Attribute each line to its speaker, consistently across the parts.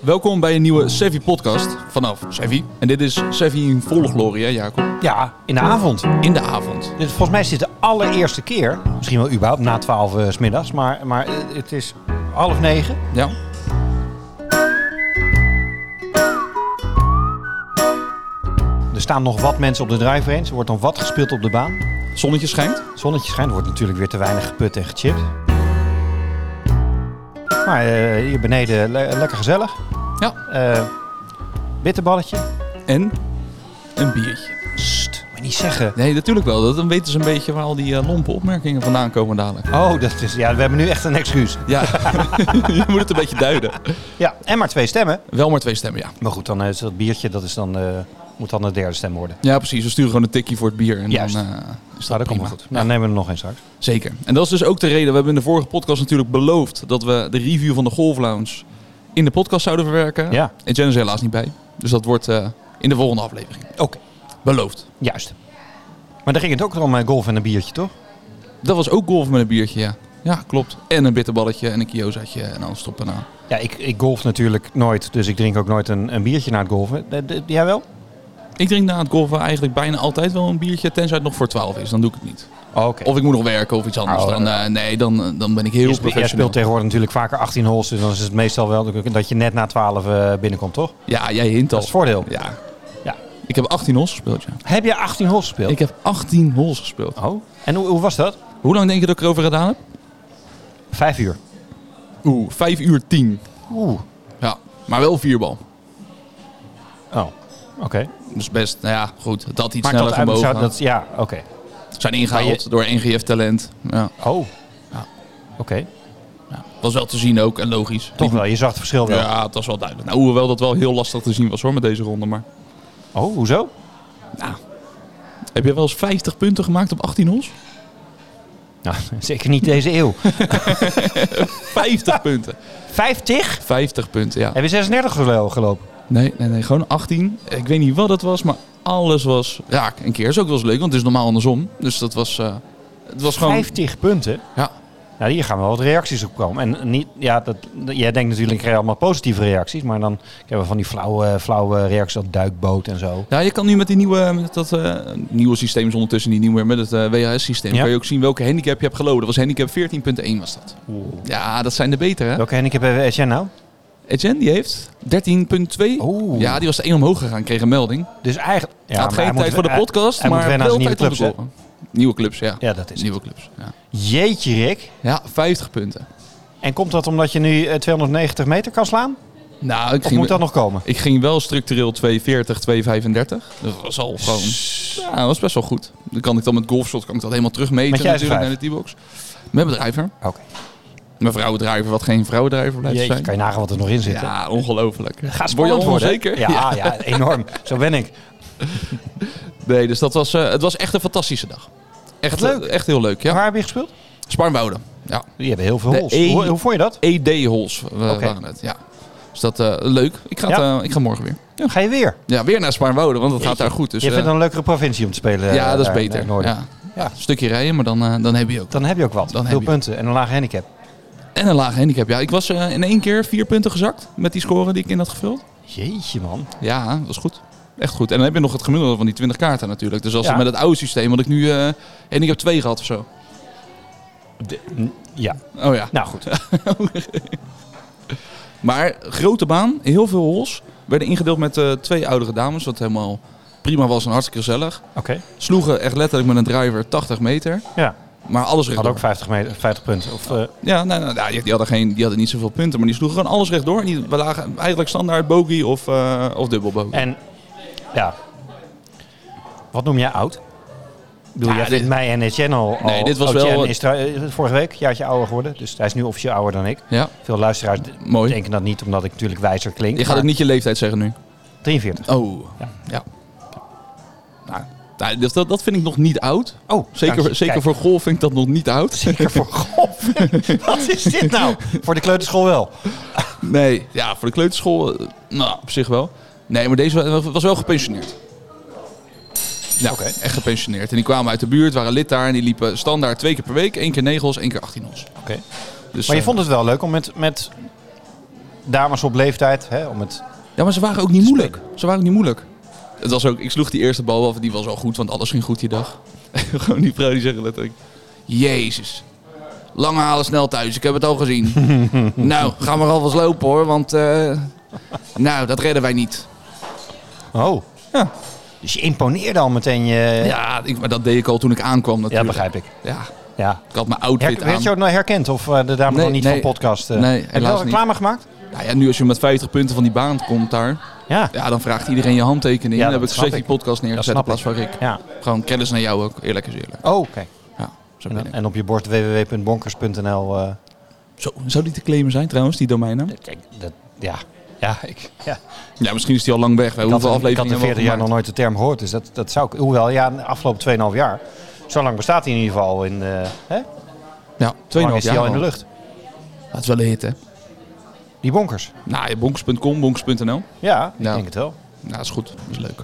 Speaker 1: Welkom bij een nieuwe Sevi podcast vanaf Sevi. En dit is Sevi in volle glorie, hè Jacob?
Speaker 2: Ja, in de avond.
Speaker 1: In de avond.
Speaker 2: Dit, volgens mij is dit de allereerste keer. Misschien wel überhaupt na 12 uur 's smiddags. Maar, maar eh, het is half negen.
Speaker 1: Ja.
Speaker 2: Er staan nog wat mensen op de drive range. Er wordt nog wat gespeeld op de baan.
Speaker 1: Zonnetje schijnt.
Speaker 2: Het zonnetje schijnt. Er wordt natuurlijk weer te weinig geput en gechipt. Maar eh, hier beneden le- lekker gezellig.
Speaker 1: Ja.
Speaker 2: Eh bitterballetje.
Speaker 1: En een biertje.
Speaker 2: Sst, moet je niet zeggen.
Speaker 1: Nee, natuurlijk wel. Dat- Dan weten ze een beetje waar al die eh, lompe opmerkingen vandaan komen dadelijk.
Speaker 2: Oh, dat is, ja, we hebben nu echt een excuus.
Speaker 1: Ja, je moet het een beetje duiden.
Speaker 2: Ja, en maar twee stemmen.
Speaker 1: Wel maar twee stemmen, ja.
Speaker 2: Maar goed, dan eh, is dat biertje, dat is dan, eh, moet dan de derde stem worden.
Speaker 1: Ja, precies. We sturen gewoon een tikkie voor het bier. En
Speaker 2: Juist.
Speaker 1: dan eh, is
Speaker 2: Nou,
Speaker 1: dat
Speaker 2: dat komt
Speaker 1: prima.
Speaker 2: wel goed. Nou, dan nemen we er nog eens straks.
Speaker 1: Zeker. En dat is dus ook de reden. We hebben in de vorige podcast natuurlijk beloofd dat we de review van de Golf Lounge in de podcast zouden verwerken.
Speaker 2: Ja.
Speaker 1: En Jen is er helaas niet bij. Dus dat wordt eh, in de volgende aflevering.
Speaker 2: Oké,
Speaker 1: Beloofd.
Speaker 2: juist. Maar dan ging het ook om eh, golf en een biertje, toch?
Speaker 1: Dat was ook golf met een biertje, ja. Ja, klopt. En een bitterballetje en een kiozaatje en alles stoppen aan.
Speaker 2: Ja, ik, ik golf natuurlijk nooit, dus ik drink ook nooit een, een biertje na het golven. Eh, d- Jij wel?
Speaker 1: Ik drink na het golven eigenlijk bijna altijd wel een biertje, tenzij het nog voor 12 is. Dan doe ik het niet.
Speaker 2: Oh, Oké.
Speaker 1: Of ik moet nog werken of iets anders.
Speaker 2: Oh,
Speaker 1: dan, eh, nee, dan, eh, dan ben ik heel
Speaker 2: Je spe- Jij
Speaker 1: professioneel.
Speaker 2: speelt tegenwoordig natuurlijk vaker 18 holes, dus dan is het meestal wel dat je net na 12 eh, binnenkomt, toch?
Speaker 1: Ja, jij hint
Speaker 2: Dat
Speaker 1: al.
Speaker 2: is het voordeel.
Speaker 1: Ja.
Speaker 2: Ja.
Speaker 1: Ik heb 18 holes gespeeld, ja.
Speaker 2: Heb je 18 holes gespeeld?
Speaker 1: Ik heb 18 holes gespeeld.
Speaker 2: Oh. En hoe, hoe was dat?
Speaker 1: Hoe lang denk je dat ik erover gedaan heb?
Speaker 2: Vijf uur.
Speaker 1: Oeh, 5 uur 10.
Speaker 2: Oeh.
Speaker 1: Ja, maar wel vierbal.
Speaker 2: Oh, oké.
Speaker 1: Dus best, nou ja, goed. Het had iets
Speaker 2: Maakt
Speaker 1: sneller
Speaker 2: dat uit?
Speaker 1: gebogen.
Speaker 2: Zou dat, ja, oké.
Speaker 1: Zijn ingehaald
Speaker 2: Maar
Speaker 1: door NGF-talent. Ja.
Speaker 2: Oh.
Speaker 1: Ja.
Speaker 2: Oké,
Speaker 1: ja, was wel te zien ook en logisch.
Speaker 2: toch wel. Je zag het verschil wel.
Speaker 1: Ja, het was wel duidelijk. Nou, hoewel dat wel heel lastig te zien was hoor met deze ronde. Maar
Speaker 2: Oh, hoezo?
Speaker 1: heb je wel eens 50 punten gemaakt op 18 holes?
Speaker 2: Nou, zeker niet deze eeuw.
Speaker 1: 50 punten.
Speaker 2: 50?
Speaker 1: 50 punten, ja.
Speaker 2: Heb je 36 gelo- gelopen?
Speaker 1: Nee, nee, nee, gewoon 18. Ik weet niet wat het was, maar alles was raak. Een keer is ook wel eens leuk, want het is normaal andersom. Dus dat was, eh, het was gewoon...
Speaker 2: 50 punten?
Speaker 1: Ja.
Speaker 2: Nou, hier gaan wel wat reacties op komen. En niet, ja, dat, jij denkt natuurlijk, ik krijg allemaal positieve reacties. Maar dan hebben we van die flauwe, flauwe reacties op duikboot en zo.
Speaker 1: Ja, je kan nu met die nieuwe, met dat, eh, nieuwe systeem is ondertussen niet nieuw meer, met het eh, WHS-systeem,
Speaker 2: Ja.
Speaker 1: kan je ook zien welke handicap je hebt geloden. Dat was handicap 14.1 was dat. Ja, dat zijn de betere. hè?
Speaker 2: Welke handicap heb jij nou?
Speaker 1: Etienne, die heeft 13.2.
Speaker 2: Oeh.
Speaker 1: Ja, die was de 1 omhoog gegaan, kreeg een melding.
Speaker 2: Dus eigenlijk...
Speaker 1: Ja,
Speaker 2: Ja, maar
Speaker 1: had geen
Speaker 2: hij moet-
Speaker 1: tijd voor de
Speaker 2: hij-
Speaker 1: podcast,
Speaker 2: hij moet
Speaker 1: maar
Speaker 2: wennen aan
Speaker 1: wel
Speaker 2: zijn
Speaker 1: tijd
Speaker 2: nieuwe
Speaker 1: om te
Speaker 2: clubs, hè?
Speaker 1: golven. Nieuwe clubs, ja.
Speaker 2: Ja, dat is het.
Speaker 1: nieuwe clubs. Ja.
Speaker 2: Jeetje, Rick.
Speaker 1: ja, 50 punten.
Speaker 2: En komt dat omdat je nu eh, 290 meter kan slaan?
Speaker 1: Nou, ik
Speaker 2: Of
Speaker 1: ging,
Speaker 2: moet dat nog komen?
Speaker 1: ik ging wel structureel 240, 235. Dat was al gewoon. Ja, dat was best wel goed. Dan kan ik dan met golfshot kan ik dat helemaal terugmeten
Speaker 2: Met je
Speaker 1: natuurlijk
Speaker 2: uitdrijf?
Speaker 1: naar de T-box. Met bedrijver.
Speaker 2: Oké.
Speaker 1: Mijn vrouwendrijver, wat geen vrouwendrijver blijft
Speaker 2: Jeetje,
Speaker 1: zijn.
Speaker 2: kan je nagaan wat er nog in zit. hè?
Speaker 1: Ja, ongelooflijk.
Speaker 2: Ga
Speaker 1: Word je
Speaker 2: spannend
Speaker 1: al
Speaker 2: worden. hè?
Speaker 1: onzeker?
Speaker 2: Ja, ja, enorm. Zo ben ik.
Speaker 1: Nee, dus dat was, eh, het was echt een fantastische dag. Echt
Speaker 2: Wat leuk.
Speaker 1: Echt heel leuk, ja.
Speaker 2: Waar heb je gespeeld?
Speaker 1: Spaarnwouden. Ja.
Speaker 2: Die hebben heel veel
Speaker 1: De
Speaker 2: hols.
Speaker 1: E-
Speaker 2: Hoe, hoe vond je dat?
Speaker 1: ED-hols waren het, ja. Dus dat, eh, leuk. Ik ga, het, eh, ik ga morgen weer.
Speaker 2: Ga je weer?
Speaker 1: Ja, weer naar Spaarnwouden, want het gaat
Speaker 2: Jeetje.
Speaker 1: daar goed. Dus,
Speaker 2: je
Speaker 1: eh,
Speaker 2: vindt het een leukere provincie om te spelen. eh,
Speaker 1: ja, dat is
Speaker 2: daar in
Speaker 1: beter.
Speaker 2: het noorden.
Speaker 1: Ja.
Speaker 2: Ja.
Speaker 1: Een stukje rijden, maar dan, eh, dan heb je ook.
Speaker 2: Dan heb je ook wat.
Speaker 1: Dan
Speaker 2: veel
Speaker 1: heb je-
Speaker 2: punten en een laag handicap.
Speaker 1: En een laag handicap. Ja, ik was eh, in één keer vier punten gezakt met die score die ik in had gevuld.
Speaker 2: Jeetje man.
Speaker 1: Ja, dat was goed. Echt goed. En dan heb je nog het gemiddelde van die 20 kaarten natuurlijk. Dus als
Speaker 2: Ja.
Speaker 1: het met het oude systeem, want ik nu eh, en ik heb twee gehad of zo.
Speaker 2: ja,
Speaker 1: Oh ja.
Speaker 2: nou goed.
Speaker 1: Maar grote baan, heel veel hols. Werden ingedeeld met eh, twee oudere dames, wat helemaal prima was en hartstikke gezellig.
Speaker 2: Oké.
Speaker 1: Sloegen echt letterlijk met een driver 80 meter.
Speaker 2: Ja,
Speaker 1: Maar alles
Speaker 2: had
Speaker 1: rechtdoor.
Speaker 2: ook 50, meter, 50 punten. Of, eh,
Speaker 1: Ja, nou, nou, nou, die, die hadden geen, die hadden niet zoveel punten, maar die sloegen gewoon alles rechtdoor. En die we lagen eigenlijk standaard bogey of, eh of dubbel bogey.
Speaker 2: en ja. Wat noem jij oud? Ik bedoel,
Speaker 1: Ja,
Speaker 2: jij vindt
Speaker 1: dit-
Speaker 2: mij en Etienne al...
Speaker 1: Nee,
Speaker 2: al-
Speaker 1: dit was
Speaker 2: oh, Etienne
Speaker 1: wel-
Speaker 2: Is trouw- eh, vorige week een jaartje ouder geworden. Dus hij is nu officieel ouder dan ik.
Speaker 1: Ja,
Speaker 2: Veel luisteraars d-
Speaker 1: mooi.
Speaker 2: denken dat niet, omdat ik natuurlijk wijzer klink.
Speaker 1: Je gaat
Speaker 2: maar
Speaker 1: ook niet je leeftijd zeggen nu.
Speaker 2: 43.
Speaker 1: Oh, ja.
Speaker 2: Ja.
Speaker 1: Nou, nou, dat- dat, dat vind ik nog niet oud.
Speaker 2: Oh, dank je.
Speaker 1: Zeker, zeker
Speaker 2: Kijk,
Speaker 1: voor golf vind ik dat nog niet oud.
Speaker 2: Zeker voor golf. Wat is dit nou? Voor de kleuterschool wel.
Speaker 1: Nee, ja, voor de kleuterschool, eh, nou, op zich wel. Nee, maar deze wa- was wel gepensioneerd. Ja,
Speaker 2: Oké.
Speaker 1: echt gepensioneerd. En die kwamen uit de buurt, waren lid daar en die liepen standaard twee keer per week. één keer negels, één keer 18 ons.
Speaker 2: Oké.
Speaker 1: Dus,
Speaker 2: Maar je
Speaker 1: eh,
Speaker 2: vond het wel leuk om met, met dames op leeftijd, hè, om het...
Speaker 1: Ja, maar ze waren ook niet moeilijk. Ze waren ook niet moeilijk. Het was ook, ik sloeg die eerste bal af, die was al goed, want alles ging goed die dag. Gewoon die vrouw die zeggen letterlijk, jezus, lang halen snel thuis, ik heb het al gezien. nou, ga maar alvast lopen hoor, want eh, nou, dat redden wij niet.
Speaker 2: Oh.
Speaker 1: Ja.
Speaker 2: Dus je imponeerde al meteen je...
Speaker 1: Ja, ik, maar dat deed ik al toen ik aankwam
Speaker 2: Ja,
Speaker 1: natuurlijk.
Speaker 2: begrijp ik.
Speaker 1: Ja,
Speaker 2: Ja.
Speaker 1: ik had mijn outfit
Speaker 2: Her- werd je
Speaker 1: aan.
Speaker 2: ook nou herkend of eh, de dame
Speaker 1: Nee,
Speaker 2: nog niet
Speaker 1: nee.
Speaker 2: van podcast? eh?
Speaker 1: Nee,
Speaker 2: Heb je
Speaker 1: helaas
Speaker 2: al
Speaker 1: niet.
Speaker 2: reclame gemaakt?
Speaker 1: Nou ja, nu als je met 50 punten van die baan komt daar,
Speaker 2: Ja.
Speaker 1: ja, dan vraagt iedereen je handtekening.
Speaker 2: Ja,
Speaker 1: dan
Speaker 2: dat
Speaker 1: heb ik
Speaker 2: snap
Speaker 1: gezegd die
Speaker 2: ik.
Speaker 1: podcast neergezet in
Speaker 2: snap
Speaker 1: plaats van Rick.
Speaker 2: Ja.
Speaker 1: Gewoon kennis naar jou ook, eerlijk is eerlijk.
Speaker 2: Oh, oké.
Speaker 1: Ja, zo ben ik.
Speaker 2: En, en op je bord www.bonkers.nl. eh,
Speaker 1: Zo, zou die te claimen zijn trouwens, die domeinnaam?
Speaker 2: kijk, dat, ja. Ja, ik, ja.
Speaker 1: Ja, misschien is die al lang weg. Wij
Speaker 2: Ik had,
Speaker 1: hoeven
Speaker 2: in- ik had in
Speaker 1: afleveringen hebben
Speaker 2: 40 jaar
Speaker 1: we
Speaker 2: nog
Speaker 1: al
Speaker 2: nooit de term gehoord. Dus dat, dat zou ik... Hoewel, ja, de afgelopen 2,5 jaar. Zo lang bestaat hij in ieder geval. In, eh hè?
Speaker 1: gemaakt.
Speaker 2: Zo
Speaker 1: Ja,
Speaker 2: lang
Speaker 1: 2,5
Speaker 2: is hij
Speaker 1: jaar
Speaker 2: al in de
Speaker 1: al.
Speaker 2: lucht.
Speaker 1: Dat is wel een hit, hè?
Speaker 2: Die bonkers.
Speaker 1: Nou, ja, bonks.com, bonks.nl.
Speaker 2: Ja, ik
Speaker 1: Ja.
Speaker 2: denk het wel.
Speaker 1: Nou, dat is goed. Dat is leuk.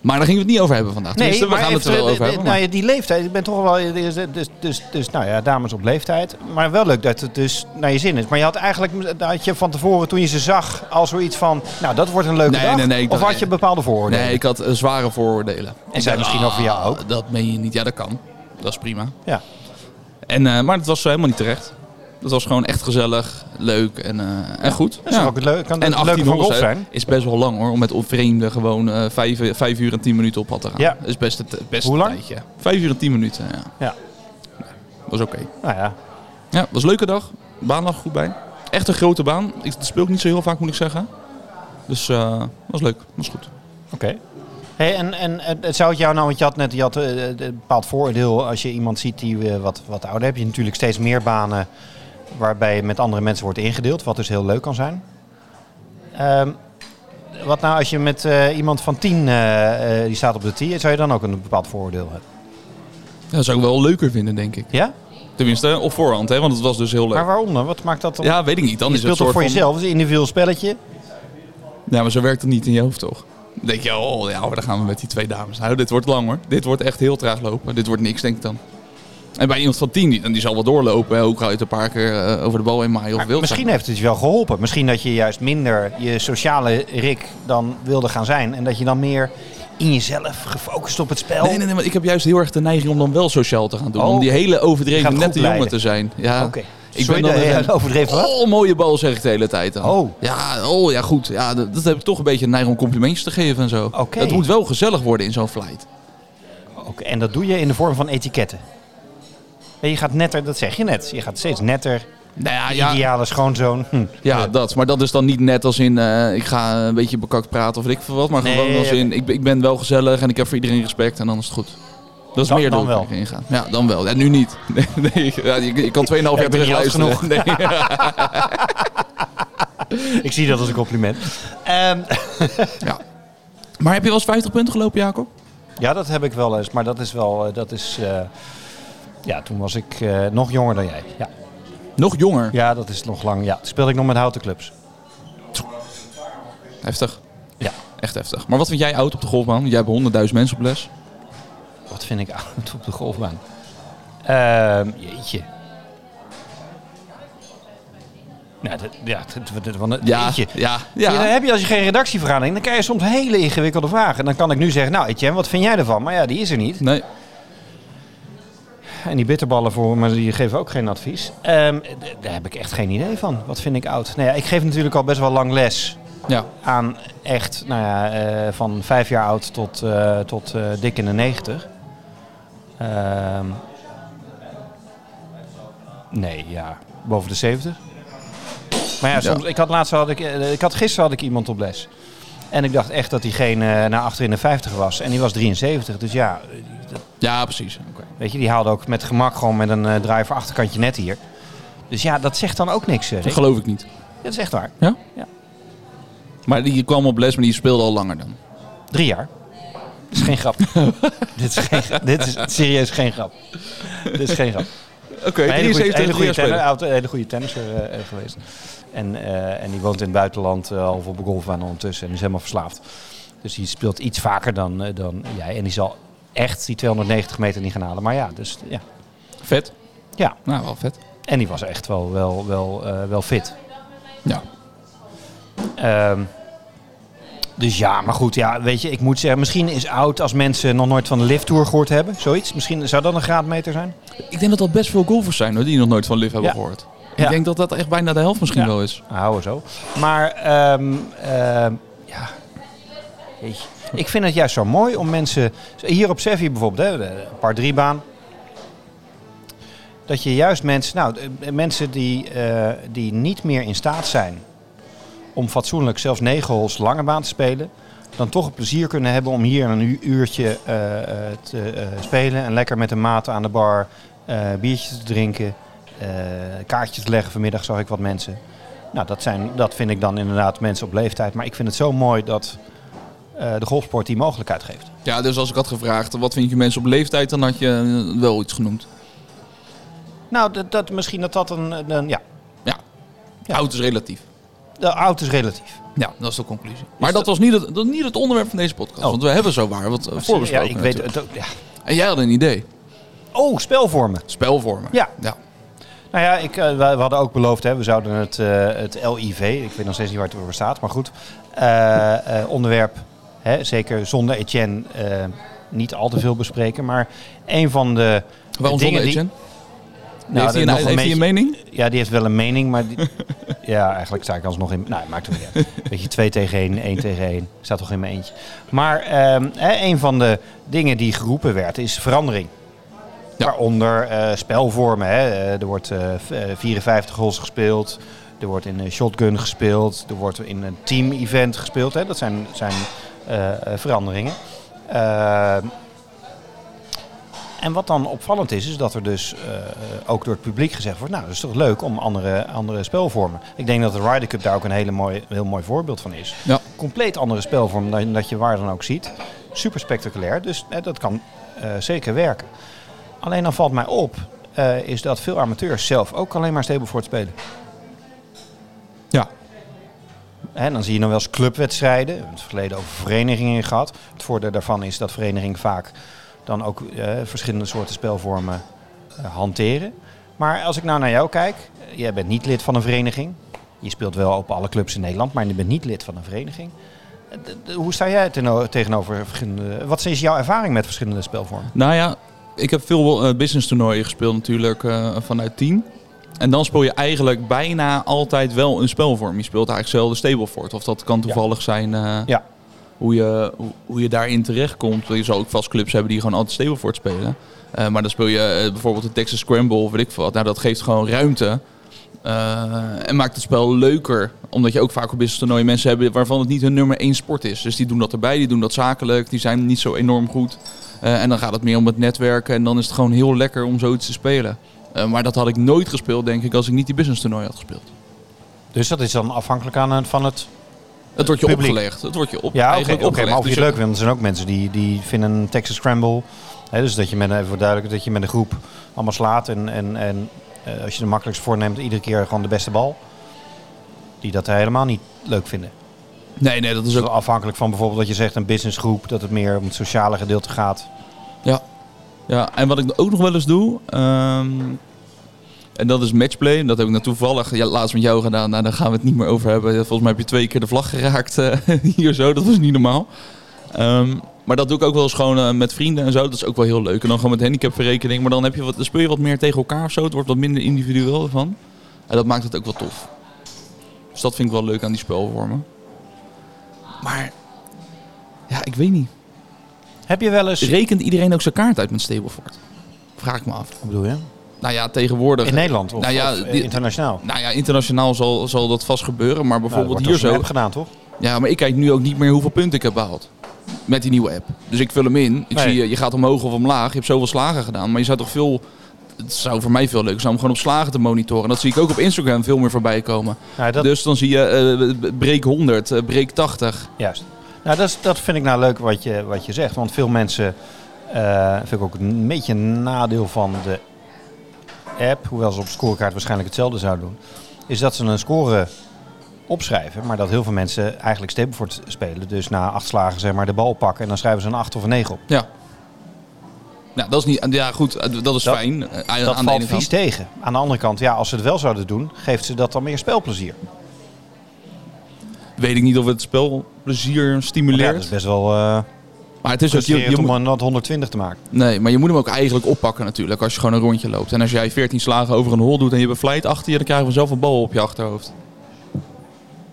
Speaker 1: Maar daar gingen we het niet over hebben vandaag.
Speaker 2: Nee,
Speaker 1: Tenminste, we
Speaker 2: maar
Speaker 1: gaan het er
Speaker 2: even,
Speaker 1: wel
Speaker 2: eh,
Speaker 1: over
Speaker 2: eh,
Speaker 1: hebben.
Speaker 2: Nou
Speaker 1: maar-
Speaker 2: ja, die leeftijd, ik ben toch wel... Dus, dus, dus, dus nou ja, dames op leeftijd. Maar wel leuk dat het dus naar je zin is. Maar je had eigenlijk dat had je van tevoren, toen je ze zag, al zoiets van... Nou, dat wordt een leuke
Speaker 1: Nee,
Speaker 2: dag.
Speaker 1: nee, nee, ik
Speaker 2: of
Speaker 1: dacht-
Speaker 2: had je bepaalde vooroordelen?
Speaker 1: Nee, ik had eh, zware vooroordelen.
Speaker 2: En
Speaker 1: Ik
Speaker 2: zij
Speaker 1: dacht,
Speaker 2: misschien over jou
Speaker 1: ah,
Speaker 2: ook?
Speaker 1: Dat meen je niet. Ja, dat kan. Dat is prima.
Speaker 2: Ja.
Speaker 1: En, eh, maar dat was helemaal niet terecht. Dat was gewoon echt gezellig, leuk en, eh, en goed.
Speaker 2: Dat is ook het leuke, kan
Speaker 1: En
Speaker 2: het leuke
Speaker 1: 18
Speaker 2: van golf
Speaker 1: holes hè,
Speaker 2: zijn.
Speaker 1: is best wel lang hoor, om met vreemden gewoon eh, vijf, vijf uur en tien minuten op pad te gaan.
Speaker 2: Ja.
Speaker 1: Is best het het beste
Speaker 2: Hoe lang?
Speaker 1: tijdje. Vijf uur en tien minuten, ja.
Speaker 2: Ja.
Speaker 1: Was oké.
Speaker 2: Nou ja,
Speaker 1: Ja, was een leuke dag. De baan lag goed bij. Echt een grote baan. Ik dat speel ik niet zo heel vaak, moet ik zeggen. Dus eh, was leuk, was goed.
Speaker 2: oké. Hey, en, en het- het zou het jou nou, want je had net je had, eh, eh, een bepaald vooroordeel als je iemand ziet die eh, wat, wat ouder heb je natuurlijk steeds meer banen waarbij je met andere mensen wordt ingedeeld, wat dus heel leuk kan zijn. Ehm, wat nou als je met eh, iemand van tien eh, eh, die staat op de tee, zou je dan ook een bepaald vooroordeel hebben?
Speaker 1: Ja, dat zou ik wel leuker vinden, denk ik.
Speaker 2: Ja?
Speaker 1: Tenminste, op voorhand, hè, want het was dus heel leuk.
Speaker 2: Maar waarom dan? Wat maakt dat dan?
Speaker 1: Ja, weet ik niet. Dan
Speaker 2: je
Speaker 1: is het
Speaker 2: speelt
Speaker 1: een
Speaker 2: toch
Speaker 1: soort
Speaker 2: voor
Speaker 1: van-
Speaker 2: jezelf, het is een individueel spelletje.
Speaker 1: Ja, maar zo werkt het niet in je hoofd, toch? Dan denk je, oh ja, maar dan gaan we met die twee dames. Nou, dit wordt lang hoor. Dit wordt echt heel traag lopen. Dit wordt niks, denk ik dan. En bij iemand van tien, die, die zal wel doorlopen. Hè. Ook al je het een paar keer eh, over de bal heen maaien of
Speaker 2: Maar
Speaker 1: wild
Speaker 2: misschien
Speaker 1: zijn.
Speaker 2: heeft het je wel geholpen. Misschien dat je juist minder je sociale Rick dan wilde gaan zijn. En dat je dan meer in jezelf gefocust op het spel.
Speaker 1: Nee, nee, nee, want ik heb juist heel erg de neiging om dan wel sociaal te gaan doen.
Speaker 2: Oh.
Speaker 1: Om die hele
Speaker 2: Je gaat
Speaker 1: overdreven
Speaker 2: goed
Speaker 1: nette
Speaker 2: leiden.
Speaker 1: jongen te zijn. Ja.
Speaker 2: Oké.
Speaker 1: Ik
Speaker 2: Sorry,
Speaker 1: ben dan
Speaker 2: dat-
Speaker 1: weer
Speaker 2: ja,
Speaker 1: een-
Speaker 2: overdreven wat?
Speaker 1: Oh, mooie bal zeg ik de hele tijd dan.
Speaker 2: Oh.
Speaker 1: Ja, oh, ja goed. Ja, dat, dat heb ik toch een beetje een neiging om complimentjes te geven en zo.
Speaker 2: Oké.
Speaker 1: Het moet wel gezellig worden in zo'n flight.
Speaker 2: Oké, En dat doe je in de vorm van etiketten. En je gaat netter, dat zeg je net. Je gaat steeds netter.
Speaker 1: Nou ja, ja,
Speaker 2: Ideale schoonzoon. Hm.
Speaker 1: Ja, dat. Maar dat is dan niet net als in eh, ik ga een beetje bekakt praten of weet ik veel wat. Maar
Speaker 2: Nee,
Speaker 1: gewoon als
Speaker 2: oké.
Speaker 1: in ik, ben- ik ben wel gezellig en ik heb voor iedereen respect en dan is het goed. Dat is
Speaker 2: Dan-
Speaker 1: meer
Speaker 2: dan
Speaker 1: dan wel. ingaan. Ja, dan wel. En nu niet. Nee, nee, ja, je, je kan 2,5 jaar
Speaker 2: ik ben
Speaker 1: terug
Speaker 2: niet oud
Speaker 1: luisteren. Nee.
Speaker 2: Ik zie dat als een compliment. Ehm,
Speaker 1: ja. Maar heb je wel eens 50 punten gelopen, Jacob?
Speaker 2: ja, dat heb ik wel eens. Maar dat is wel... eh, Dat is, eh, ja, toen was ik eh, nog jonger dan jij. Ja.
Speaker 1: Nog jonger.
Speaker 2: ja, dat is nog lang. Ja, toen speelde ik nog met houten clubs.
Speaker 1: Heftig.
Speaker 2: Ja.
Speaker 1: Echt heftig. Maar wat vind jij oud op de golfbaan? Want Jij hebt 100.000 mensen op les.
Speaker 2: Wat vind ik oud op de golfbaan? Ehm, jeetje. Nou, dat, ja, dat, dat, dat- dat-
Speaker 1: Ja,
Speaker 2: jeetje.
Speaker 1: ja,
Speaker 2: Ja,
Speaker 1: ja.
Speaker 2: Dan heb je als je geen redactievergadering, dan krijg je soms hele ingewikkelde vragen. En dan kan ik nu zeggen, nou Etienne, wat vind jij ervan? Maar ja, die is er niet.
Speaker 1: Nee.
Speaker 2: En die bitterballen voor me, die geven ook geen advies. Ehm, d- daar heb ik echt geen idee van. Wat vind ik oud? Nou ja, ik geef natuurlijk al best wel lang les
Speaker 1: Ja.
Speaker 2: aan echt, nou ja, eh, van vijf jaar oud tot, eh, tot eh, dik in de negentig. Ehm, nee, ja, boven de zeventig. Maar ja, soms, ik had laatst had ik, eh, ik had gisteren had ik iemand op les. En ik dacht echt dat diegene eh, naar achter in de 50 was. En die was 73. Dus ja, eh, dat-
Speaker 1: Ja, precies. Oké.
Speaker 2: weet je, die haalde ook met gemak gewoon met een eh driver achterkantje net hier. Dus ja, dat zegt dan ook niks. eh,
Speaker 1: Dat
Speaker 2: Rick.
Speaker 1: geloof ik niet.
Speaker 2: Dat is echt waar.
Speaker 1: Maar die kwam op les, maar die speelde al langer dan.
Speaker 2: Drie jaar. Dit is geen grap. dit, is geen, dit is serieus geen grap. dit is geen grap.
Speaker 1: Oké,
Speaker 2: Een hele goede,
Speaker 1: 73
Speaker 2: hele goede,
Speaker 1: jaar spelen.
Speaker 2: tenner, oud- hele goede tennisser eh, eh, geweest. En, eh, en die woont in het buitenland, eh, half op de golfbaan ondertussen. En is helemaal verslaafd. Dus die speelt iets vaker dan, eh, dan jij. En die zal echt die 290 meter niet gaan halen. Maar ja, dus ja.
Speaker 1: Vet.
Speaker 2: ja.
Speaker 1: Nou, wel vet.
Speaker 2: En die was echt wel, wel, wel, eh, wel fit.
Speaker 1: Ja.
Speaker 2: Ehm, dus ja, maar goed, ja, weet je, ik moet zeggen, misschien is oud als mensen nog nooit van de lift tour gehoord hebben, zoiets. Misschien zou dat een graadmeter zijn.
Speaker 1: Ik denk dat dat best veel golfers zijn hoor, die nog nooit van Liv hebben
Speaker 2: Ja.
Speaker 1: gehoord.
Speaker 2: Ja.
Speaker 1: Ik denk dat dat echt bijna de helft misschien
Speaker 2: Ja.
Speaker 1: wel is.
Speaker 2: Ah, Houden zo. Maar ehm, ehm, ja, Jeetje. ik vind het juist zo mooi om mensen hier op Sevi bijvoorbeeld, hè, de par drie baan, dat je juist mensen, nou, de- de mensen die, eh, die niet meer in staat zijn om fatsoenlijk zelfs negen hols lange baan te spelen, dan toch het plezier kunnen hebben om hier een u- uurtje eh, eh, te eh, spelen en lekker met een maat aan de bar eh, biertjes te drinken, eh, kaartjes te leggen. Vanmiddag zag ik wat mensen. Nou, dat, zijn, dat vind ik dan inderdaad mensen op leeftijd. Maar ik vind het zo mooi dat eh, de golfsport die mogelijkheid geeft.
Speaker 1: Ja, dus als ik had gevraagd, wat vind je mensen op leeftijd, dan had je eh, wel iets genoemd.
Speaker 2: Nou, dat, dat, misschien dat dat een, een- Ja, Ja.
Speaker 1: Oud is relatief.
Speaker 2: de oud is relatief.
Speaker 1: Ja, dat is de conclusie. Maar dat, was niet het, dat niet het onderwerp van deze podcast.
Speaker 2: Oh.
Speaker 1: Want we hebben zo waar wat eh,
Speaker 2: ja,
Speaker 1: voorbesproken.
Speaker 2: ik weet
Speaker 1: natuurlijk.
Speaker 2: het ook. Ja.
Speaker 1: En jij had een idee.
Speaker 2: Oh, spelvormen.
Speaker 1: Spelvormen.
Speaker 2: Ja.
Speaker 1: ja.
Speaker 2: Nou ja, ik, eh, we, we hadden ook beloofd, hè, we zouden het, eh, het LIV, ik weet nog steeds niet waar het over staat, maar goed, eh, eh, onderwerp, hè, zeker zonder Etienne, eh, niet al te veel bespreken. Maar een van de
Speaker 1: Waarom
Speaker 2: dingen
Speaker 1: zonder
Speaker 2: die-
Speaker 1: Etienne?
Speaker 2: Nou,
Speaker 1: heeft hij een,
Speaker 2: nog
Speaker 1: heeft hij een mening?
Speaker 2: Ja, die heeft wel een mening, maar... Die... ja, eigenlijk sta ik alsnog in... Nou, maakt het niet uit. Weet je, twee tegen één, één tegen één. Ik sta toch in mijn eentje. Maar ehm, hè, een van de dingen die geroepen werd is verandering.
Speaker 1: Ja.
Speaker 2: Waaronder eh, spelvormen. Hè. Eh, Er wordt eh, v- eh, 54 holes gespeeld. Er wordt in een shotgun gespeeld. Er wordt in een team-event gespeeld. Hè. Dat zijn, zijn eh, eh, veranderingen. Ehm, en wat dan opvallend is, is dat er dus eh, eh, ook door het publiek gezegd wordt... nou, dat is toch leuk om andere, andere spelvormen. Ik denk dat de Ryder Cup daar ook een hele mooi, heel mooi voorbeeld van is.
Speaker 1: Ja.
Speaker 2: Compleet andere spelvorm dan dat je waar dan ook ziet. Super spectaculair, dus eh, dat kan eh, zeker werken. Alleen dan valt mij op, eh, is dat veel amateurs zelf ook alleen maar Stableford spelen.
Speaker 1: Ja.
Speaker 2: Hè, dan zie je dan wel eens clubwedstrijden. We hebben het verleden over verenigingen gehad. Het voordeel daarvan is dat verenigingen vaak dan ook eh, verschillende soorten spelvormen eh, hanteren. Maar als ik nou naar jou kijk, eh, jij bent niet lid van een vereniging. Je speelt wel op alle clubs in Nederland, maar je bent niet lid van een vereniging. Eh, d- d- Hoe sta jij teno- tegenover verschillende... Wat is jouw ervaring met verschillende spelvormen?
Speaker 1: Nou ja, ik heb veel eh business toernooien gespeeld natuurlijk eh, vanuit team. En dan speel je eigenlijk bijna altijd wel een spelvorm. Je speelt eigenlijk zelden Stableford. Of dat kan toevallig zijn eh,
Speaker 2: Ja.
Speaker 1: hoe, je, hoe, hoe je daarin terechtkomt. Je zal ook vast clubs hebben die gewoon altijd Stableford spelen. Eh, maar dan speel je eh, bijvoorbeeld de Texas Scramble of weet ik veel wat. Nou, dat geeft gewoon ruimte. eh, en maakt het spel leuker. Omdat je ook vaak op business toernooien mensen hebben waarvan het niet hun nummer één sport is. Dus die doen dat erbij, die doen dat zakelijk. Die zijn niet zo enorm goed. Eh, en dan gaat het meer om het netwerken. En dan is het gewoon heel lekker om zoiets te spelen. Eh, maar dat had ik nooit gespeeld, denk ik, als ik niet die business toernooi had gespeeld.
Speaker 2: Dus dat is dan afhankelijk aan het- van het...
Speaker 1: Het wordt je
Speaker 2: Publiek.
Speaker 1: opgelegd. Het wordt je op,
Speaker 2: Ja, oké,
Speaker 1: eigenlijk
Speaker 2: oké, maar
Speaker 1: opgelegd.
Speaker 2: of je het
Speaker 1: Dus
Speaker 2: leuk vindt, er zijn ook mensen die, die vinden een Texas Scramble. Hè, dus dat je met, even voor duidelijk, dat je met een groep allemaal slaat. En, en, en eh, als je de makkelijkst voorneemt, iedere keer gewoon de beste bal. Die dat helemaal niet leuk vinden.
Speaker 1: Nee, nee, dat is
Speaker 2: Dus
Speaker 1: ook...
Speaker 2: afhankelijk van bijvoorbeeld dat je zegt een businessgroep, dat het meer om het sociale gedeelte gaat.
Speaker 1: Ja, en wat ik ook nog wel eens doe... ehm, en dat is matchplay. En Dat heb ik nou toevallig ja, laatst met jou gedaan. Nou, daar gaan we het niet meer over hebben. Volgens mij heb je twee keer de vlag geraakt eh, hier zo. Dat was niet normaal. Ehm, maar dat doe ik ook wel eens gewoon eh, met vrienden en zo. Dat is ook wel heel leuk. En dan gewoon met handicapverrekening. Maar dan, heb je wat, dan speel je wat meer tegen elkaar of zo. Het wordt wat minder individueel van. En dat maakt het ook wel tof. Dus dat vind ik wel leuk aan die spelvormen. Maar ja, ik weet niet.
Speaker 2: Heb je wel eens...
Speaker 1: Dus Rekent iedereen ook zijn kaart uit met Stableford? Vraag ik me af.
Speaker 2: Wat bedoel je?
Speaker 1: Nou ja, tegenwoordig.
Speaker 2: In Nederland of,
Speaker 1: Nou ja,
Speaker 2: of, eh,
Speaker 1: die-
Speaker 2: internationaal?
Speaker 1: Nou ja, internationaal zal, zal dat vast gebeuren. Maar bijvoorbeeld
Speaker 2: Nou,
Speaker 1: hier zo.
Speaker 2: heb gedaan, toch?
Speaker 1: Ja, maar ik kijk nu ook niet meer hoeveel punten ik heb behaald. Met die nieuwe app. Dus ik vul hem in. Ik
Speaker 2: Nee.
Speaker 1: zie, eh, je gaat omhoog of omlaag. Je hebt zoveel slagen gedaan. Maar je zou toch veel... Het zou voor mij veel leuker zijn om gewoon op slagen te monitoren. En dat zie ik ook op Instagram veel meer voorbij komen.
Speaker 2: Nou, dat,
Speaker 1: Dus dan zie je eh, breek 100, eh, breek 80.
Speaker 2: Juist. Nou, dat, is, dat vind ik nou leuk wat je, wat je zegt. Want veel mensen, eh vind ik ook een beetje een nadeel van de app, hoewel ze op de scorekaart waarschijnlijk hetzelfde zouden doen, is dat ze een score opschrijven, maar dat heel veel mensen eigenlijk Stableford spelen. Dus na acht slagen zeg maar de bal pakken en dan schrijven ze een acht of een negen op.
Speaker 1: Ja. Nou, dat is niet... Ja, goed. eh, Dat is
Speaker 2: Dat-
Speaker 1: fijn. eh, aan-
Speaker 2: Dat
Speaker 1: aan de
Speaker 2: valt
Speaker 1: ene kant.
Speaker 2: vies tegen. Aan de andere kant, ja, als ze het wel zouden doen, geeft ze dat dan meer spelplezier.
Speaker 1: weet ik niet of het spelplezier
Speaker 2: Ja,
Speaker 1: stimuleert.
Speaker 2: dat is best wel eh
Speaker 1: maar het is ook, Dus je,
Speaker 2: frustrerend
Speaker 1: je
Speaker 2: om eh,
Speaker 1: moet,
Speaker 2: een nat 120 te maken.
Speaker 1: nee, maar je moet hem ook eigenlijk oppakken natuurlijk, als je gewoon een rondje loopt. En als jij 14 slagen over een hol doet en je bevlijt achter je, dan krijg je vanzelf een bal op je achterhoofd.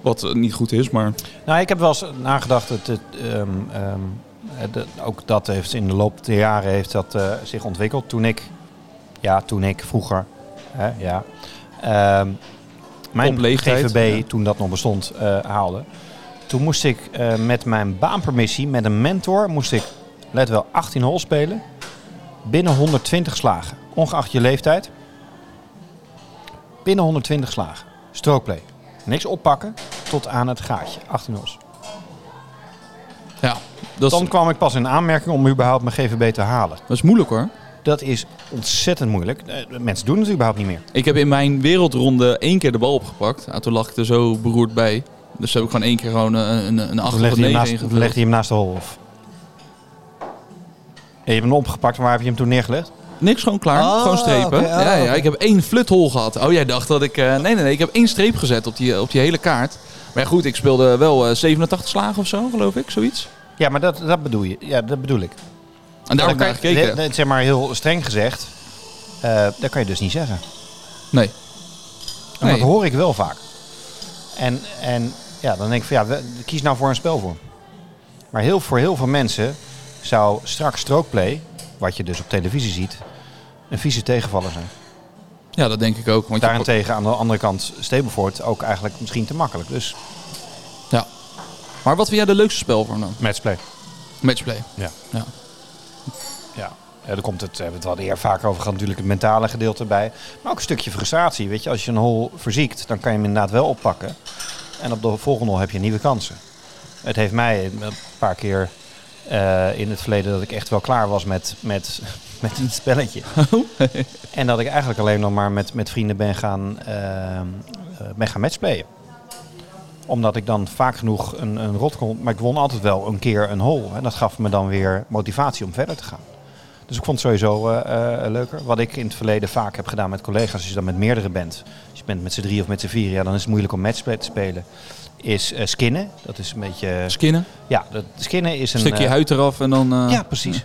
Speaker 1: Wat eh, niet goed is, maar...
Speaker 2: Nou, ik heb wel eens nagedacht dat het, ehm, ehm, eh, dat- ook dat heeft in de loop der jaren heeft dat eh, zich ontwikkeld. Toen ik, ja, toen ik vroeger, hè, ja, ehm, mijn
Speaker 1: Op leeftijd,
Speaker 2: GVB
Speaker 1: ja.
Speaker 2: toen dat nog bestond eh, haalde. Toen moest ik eh, met mijn baanpermissie, met een mentor, moest ik, let wel, 18 holes spelen binnen 120 slagen, ongeacht je leeftijd. Binnen 120 slagen, strookplay, niks oppakken tot aan het gaatje, 18 holes.
Speaker 1: Ja, dat is,
Speaker 2: Dan kwam ik pas in aanmerking om überhaupt mijn GVB te halen.
Speaker 1: dat is moeilijk hoor.
Speaker 2: Dat is ontzettend moeilijk. Eh, Mensen doen het überhaupt niet meer.
Speaker 1: Ik heb in mijn wereldronde één keer de bal opgepakt. Ah, toen lag ik er zo beroerd bij. Dus heb ik gewoon één keer gewoon eh, een, een, een 8
Speaker 2: Toen
Speaker 1: of een
Speaker 2: legde
Speaker 1: 9
Speaker 2: hij hem naast, toen
Speaker 1: ingevuld.
Speaker 2: legde hij hem naast de hol of. Ja, je hebt hem opgepakt, maar waar heb je hem toen neergelegd?
Speaker 1: Niks, gewoon klaar.
Speaker 2: Ah,
Speaker 1: gewoon strepen.
Speaker 2: oké, ah,
Speaker 1: ja, ja,
Speaker 2: oké.
Speaker 1: ik heb één fluthol gehad. Oh, jij dacht dat ik... eh, nee, nee, nee. Ik heb één streep gezet op die, eh, op die hele kaart. Maar ja, goed, ik speelde wel eh, 87 slagen of zo, geloof ik. Zoiets.
Speaker 2: Ja, maar dat, dat bedoel je. Ja, dat bedoel ik.
Speaker 1: En daar heb ik
Speaker 2: kan
Speaker 1: naar
Speaker 2: je,
Speaker 1: gekeken.
Speaker 2: de- de- zeg maar heel streng gezegd, eh, dat kan je dus niet zeggen.
Speaker 1: Nee.
Speaker 2: En
Speaker 1: Nee.
Speaker 2: Dat hoor ik wel vaak. En, en ja, dan denk ik van ja, we- kies nou voor een spelvorm. Maar heel, voor heel veel mensen zou straks strookplay, wat je dus op televisie ziet, een vieze tegenvaller zijn.
Speaker 1: Ja, dat denk ik ook. Want je-
Speaker 2: Daarentegen aan de andere kant Stableford ook eigenlijk misschien te makkelijk. Dus
Speaker 1: ja. Maar wat vind jij de leukste spel voor dan?
Speaker 2: matchplay.
Speaker 1: Matchplay.
Speaker 2: Ja.
Speaker 1: Ja.
Speaker 2: Ja. Ja, daar komt het, eh, we hebben het wel eer vaker over gehad, natuurlijk het mentale gedeelte bij. Maar ook een stukje frustratie. Weet je, als je een hol verziekt, dan kan je hem inderdaad wel oppakken. En op de volgende hol heb je nieuwe kansen. Het heeft mij een paar keer eh, in het verleden dat ik echt wel klaar was met, met, met het spelletje. en dat ik eigenlijk alleen nog maar met, met vrienden ben gaan, eh, eh, ben gaan matchplayen. Omdat ik dan vaak genoeg een, een rot kon. Maar ik won altijd wel een keer een hol. En dat gaf me dan weer motivatie om verder te gaan. Dus ik vond het sowieso eh, eh, leuker. Wat ik in het verleden vaak heb gedaan met collega's, als je dan met meerdere bent. Als je bent met z'n drie of met z'n vier, ja, dan is het moeilijk om matchplay te spelen. Is eh, skinnen. Dat is een beetje.
Speaker 1: Skinnen.
Speaker 2: ja, dat, skinnen is een.
Speaker 1: Een stukje
Speaker 2: eh,
Speaker 1: huid eraf en dan... eh,
Speaker 2: ja, precies.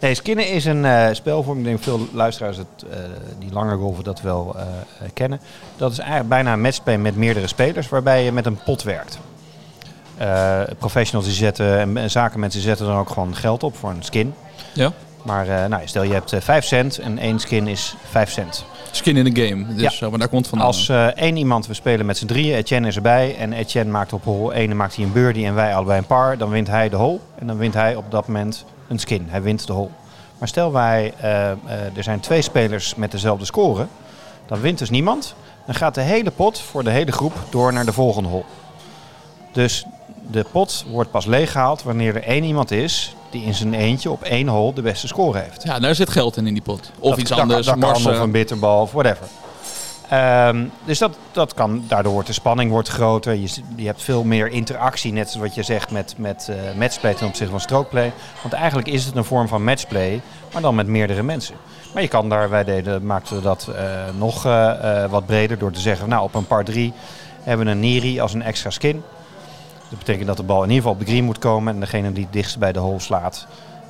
Speaker 2: nee, skinnen is een eh, spelvorm. Ik denk veel luisteraars het, eh, die lange golven dat wel eh, eh, kennen. Dat is eigenlijk bijna een matchplay met meerdere spelers, waarbij je met een pot werkt. Eh, professionals die zetten en, en zakenmensen zetten dan ook gewoon geld op voor een skin.
Speaker 1: ja.
Speaker 2: Maar eh, nou, stel je hebt eh, 5 cent en één skin is 5 cent.
Speaker 1: Skin in the game. Dus,
Speaker 2: Ja.
Speaker 1: zo, maar daar komt vandaan.
Speaker 2: Als eh, één iemand, we spelen met z'n drieën, Etienne is erbij. En Etienne maakt op hol 1 en maakt hij een birdie en wij allebei een par. Dan wint hij de hol en dan wint hij op dat moment een skin. Hij wint de hol. Maar stel wij, eh, eh, er zijn twee spelers met dezelfde score. Dan wint dus niemand. Dan gaat de hele pot voor de hele groep door naar de volgende hol. Dus de pot wordt pas leeggehaald wanneer er één iemand is die in zijn eentje op één hol de beste score heeft.
Speaker 1: Ja, daar zit geld in in die pot. Of
Speaker 2: Dat-
Speaker 1: iets
Speaker 2: dat-
Speaker 1: anders,
Speaker 2: dat kan,
Speaker 1: marsen.
Speaker 2: of een bitterbal of whatever. Ehm, dus dat, dat kan, daardoor wordt de spanning wordt groter. Je, z- je hebt veel meer interactie, net zoals wat je zegt met, met eh, matchplay ten opzichte van strookplay. Want eigenlijk is het een vorm van matchplay, maar dan met meerdere mensen. Maar je kan daar, wij deden, maakten we dat eh, nog eh, eh, wat breder door te zeggen, nou op een par 3 hebben we een Niri als een extra skin. Dat betekent dat de bal in ieder geval op de green moet komen. En degene die het dichtst bij de hole slaat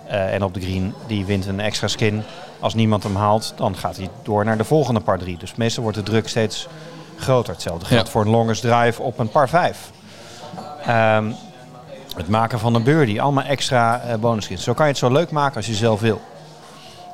Speaker 2: eh, en op de green, die wint een extra skin. Als niemand hem haalt, dan gaat hij door naar de volgende par 3. Dus meestal wordt de druk steeds groter. Hetzelfde geldt
Speaker 1: Ja.
Speaker 2: voor een longest drive op een par 5. Ehm, het maken van een birdie, allemaal extra eh bonuskins. Zo kan je het zo leuk maken als je zelf wil.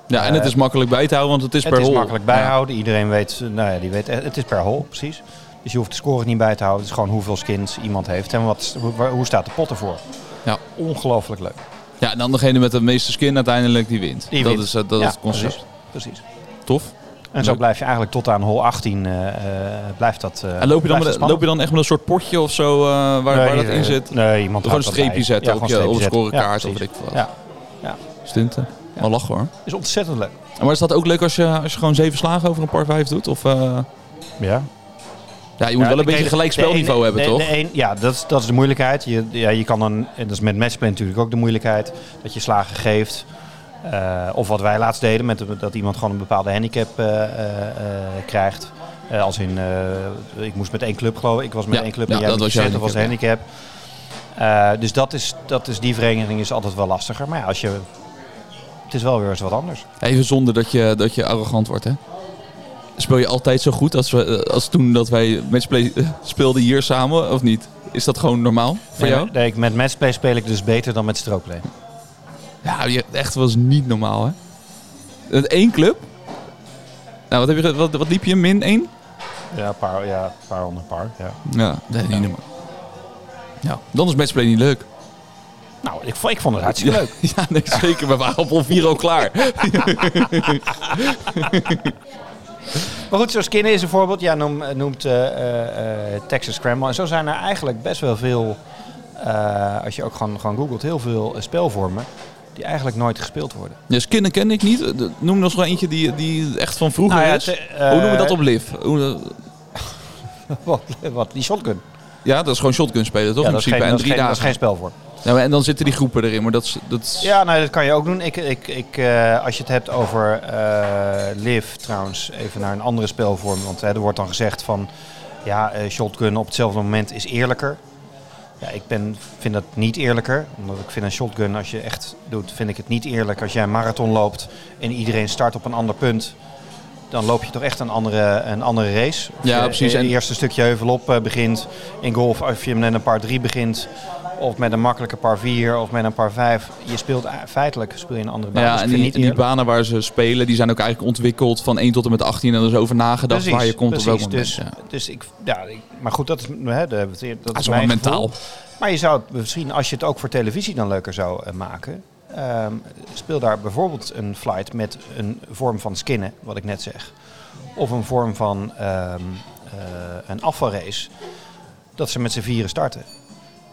Speaker 1: Ja, en het is makkelijk bij te houden, want het is
Speaker 2: eh, Het
Speaker 1: per
Speaker 2: is
Speaker 1: hol.
Speaker 2: makkelijk bijhouden. Iedereen weet, eh, nou ja, die weet, eh, het is per hol, precies. Dus je hoeft de score niet bij te houden. Het is gewoon hoeveel skins iemand heeft en wat, hoe, waar- hoe staat de pot ervoor.
Speaker 1: Ja.
Speaker 2: Ongelooflijk leuk.
Speaker 1: Ja. ja, en dan degene met de meeste skin uiteindelijk die wint.
Speaker 2: Die
Speaker 1: dat
Speaker 2: wint.
Speaker 1: is, eh, dat
Speaker 2: Ja,
Speaker 1: is het concept.
Speaker 2: Precies.
Speaker 1: Tof.
Speaker 2: En zo
Speaker 1: Leuk.
Speaker 2: blijf je eigenlijk tot aan hol 18 eh, eh, blijft dat. eh,
Speaker 1: En loop je, dan
Speaker 2: blijft
Speaker 1: met,
Speaker 2: dat
Speaker 1: loop je dan echt met een soort potje of zo eh, waar,
Speaker 2: spannend.
Speaker 1: waar dat
Speaker 2: Nee,
Speaker 1: in
Speaker 2: eh,
Speaker 1: zit?
Speaker 2: Nee,
Speaker 1: Gewoon
Speaker 2: iemand
Speaker 1: een
Speaker 2: houdt dat
Speaker 1: streepje
Speaker 2: bij.
Speaker 1: zetten
Speaker 2: Ja,
Speaker 1: op
Speaker 2: gewoon
Speaker 1: je op een
Speaker 2: streepje zetten.
Speaker 1: scorekaart
Speaker 2: Ja,
Speaker 1: of weet
Speaker 2: precies.
Speaker 1: ik veel.
Speaker 2: Ja.
Speaker 1: Stunten. Maar lach hoor.
Speaker 2: Is ontzettend leuk.
Speaker 1: Maar is dat ook leuk als je, als je gewoon zeven slagen over een par vijf doet? Of, eh,
Speaker 2: Ja.
Speaker 1: ja, je moet wel een beetje gelijk spelniveau hebben, toch?
Speaker 2: ja, dat is, dat is de moeilijkheid. Je, ja, je kan dan, en dat is met matchplay natuurlijk ook de moeilijkheid, dat je slagen geeft. Eh, of wat wij laatst deden, met, dat iemand gewoon een bepaalde handicap eh, eh, eh, krijgt. Eh, als in, eh, ik moest met één club geloof ik. Ik was met
Speaker 1: Ja,
Speaker 2: één club
Speaker 1: ja,
Speaker 2: en jij
Speaker 1: dat
Speaker 2: met
Speaker 1: was
Speaker 2: je
Speaker 1: jouw
Speaker 2: set, dat was de handicap. Eh, dus dat is, dat is, die vereniging is altijd wel lastiger. Maar ja, als je, het is wel weer eens wat anders.
Speaker 1: Even zonder dat je, dat je arrogant wordt, hè? Speel je altijd zo goed als, we, eh, als toen dat wij matchplay eh, speelden hier samen, of niet? Is dat gewoon normaal voor
Speaker 2: Nee,
Speaker 1: jou?
Speaker 2: nee, ik- met matchplay speel ik dus beter dan met strookplay.
Speaker 1: Ja, je, echt was niet normaal, hè? Met één club? Nou, wat, heb je, ge- wat, wat liep je? Min één?
Speaker 2: Ja, paar, ja, paar onder paar. Ja.
Speaker 1: Ja, dat is niet normaal. Ja, dan is matchplay niet leuk.
Speaker 2: Nou, ik, vo- ik vond het hartstikke leuk.
Speaker 1: Ja, nee, zeker. We waren op al vier al klaar.
Speaker 2: Maar goed, zoals Skinner is een voorbeeld. Ja, noem, noemt eh, eh, eh, Texas Scramble. En zo zijn er eigenlijk best wel veel, eh, als je ook gewoon, gewoon googelt, heel veel eh, spelvormen die eigenlijk nooit gespeeld worden.
Speaker 1: Ja, skinnen Dus ken ik niet. Eh, Noem nog eens eentje die, die echt van vroeger
Speaker 2: Nou ja,
Speaker 1: is.
Speaker 2: te- eh,
Speaker 1: Hoe noemen we dat op Liv? Hoe, eh,
Speaker 2: Wat, wat die shotgun.
Speaker 1: Ja, dat is gewoon shotgun spelen, toch?
Speaker 2: Ja,
Speaker 1: in
Speaker 2: dat is geen,
Speaker 1: principe.
Speaker 2: dat
Speaker 1: en
Speaker 2: is
Speaker 1: drie
Speaker 2: geen, dat is
Speaker 1: dagen.
Speaker 2: geen spelvorm.
Speaker 1: Ja, maar- en dan zitten die groepen erin, maar dat is... Dat is...
Speaker 2: Ja, nou, dat kan je ook doen. Ik, ik, ik, eh, als je het hebt over eh Liv, trouwens, even naar een andere spelvorm. Want hè, er wordt dan gezegd van, ja, eh, shotgun op hetzelfde moment is eerlijker. Ja, ik ben, vind dat niet eerlijker. Omdat ik vind een shotgun, als je echt doet, vind ik het niet eerlijk. Als jij een marathon loopt en iedereen start op een ander punt... Dan loop je toch echt een andere, een andere race. Of
Speaker 1: Ja,
Speaker 2: je
Speaker 1: precies.
Speaker 2: Het
Speaker 1: En-
Speaker 2: eerste stukje heuvel op eh, begint in golf. Of je hem met een paar 3 begint. Of met een makkelijke paar 4 of met een paar 5. Je speelt eh, feitelijk speel je een andere baan.
Speaker 1: Ja,
Speaker 2: Dus ik
Speaker 1: en
Speaker 2: vind
Speaker 1: die,
Speaker 2: het
Speaker 1: en
Speaker 2: niet
Speaker 1: die
Speaker 2: eerlijk.
Speaker 1: banen waar ze spelen, die zijn ook eigenlijk ontwikkeld van 1 tot en met 18. En er is over nagedacht
Speaker 2: Precies,
Speaker 1: waar je komt op welk
Speaker 2: precies.
Speaker 1: moment.
Speaker 2: Dus,
Speaker 1: ja.
Speaker 2: dus ik, ja, ik, maar goed, dat is, hè, de- dat
Speaker 1: Dat
Speaker 2: is
Speaker 1: is
Speaker 2: mijn
Speaker 1: allemaal
Speaker 2: gevoel.
Speaker 1: mentaal.
Speaker 2: Maar je zou het misschien, als je het ook voor televisie dan leuker zou eh, maken, ehm, speel daar bijvoorbeeld een flight met een vorm van skinnen, wat ik net zeg. Of een vorm van ehm, eh, een afvalrace, dat ze met z'n vieren starten.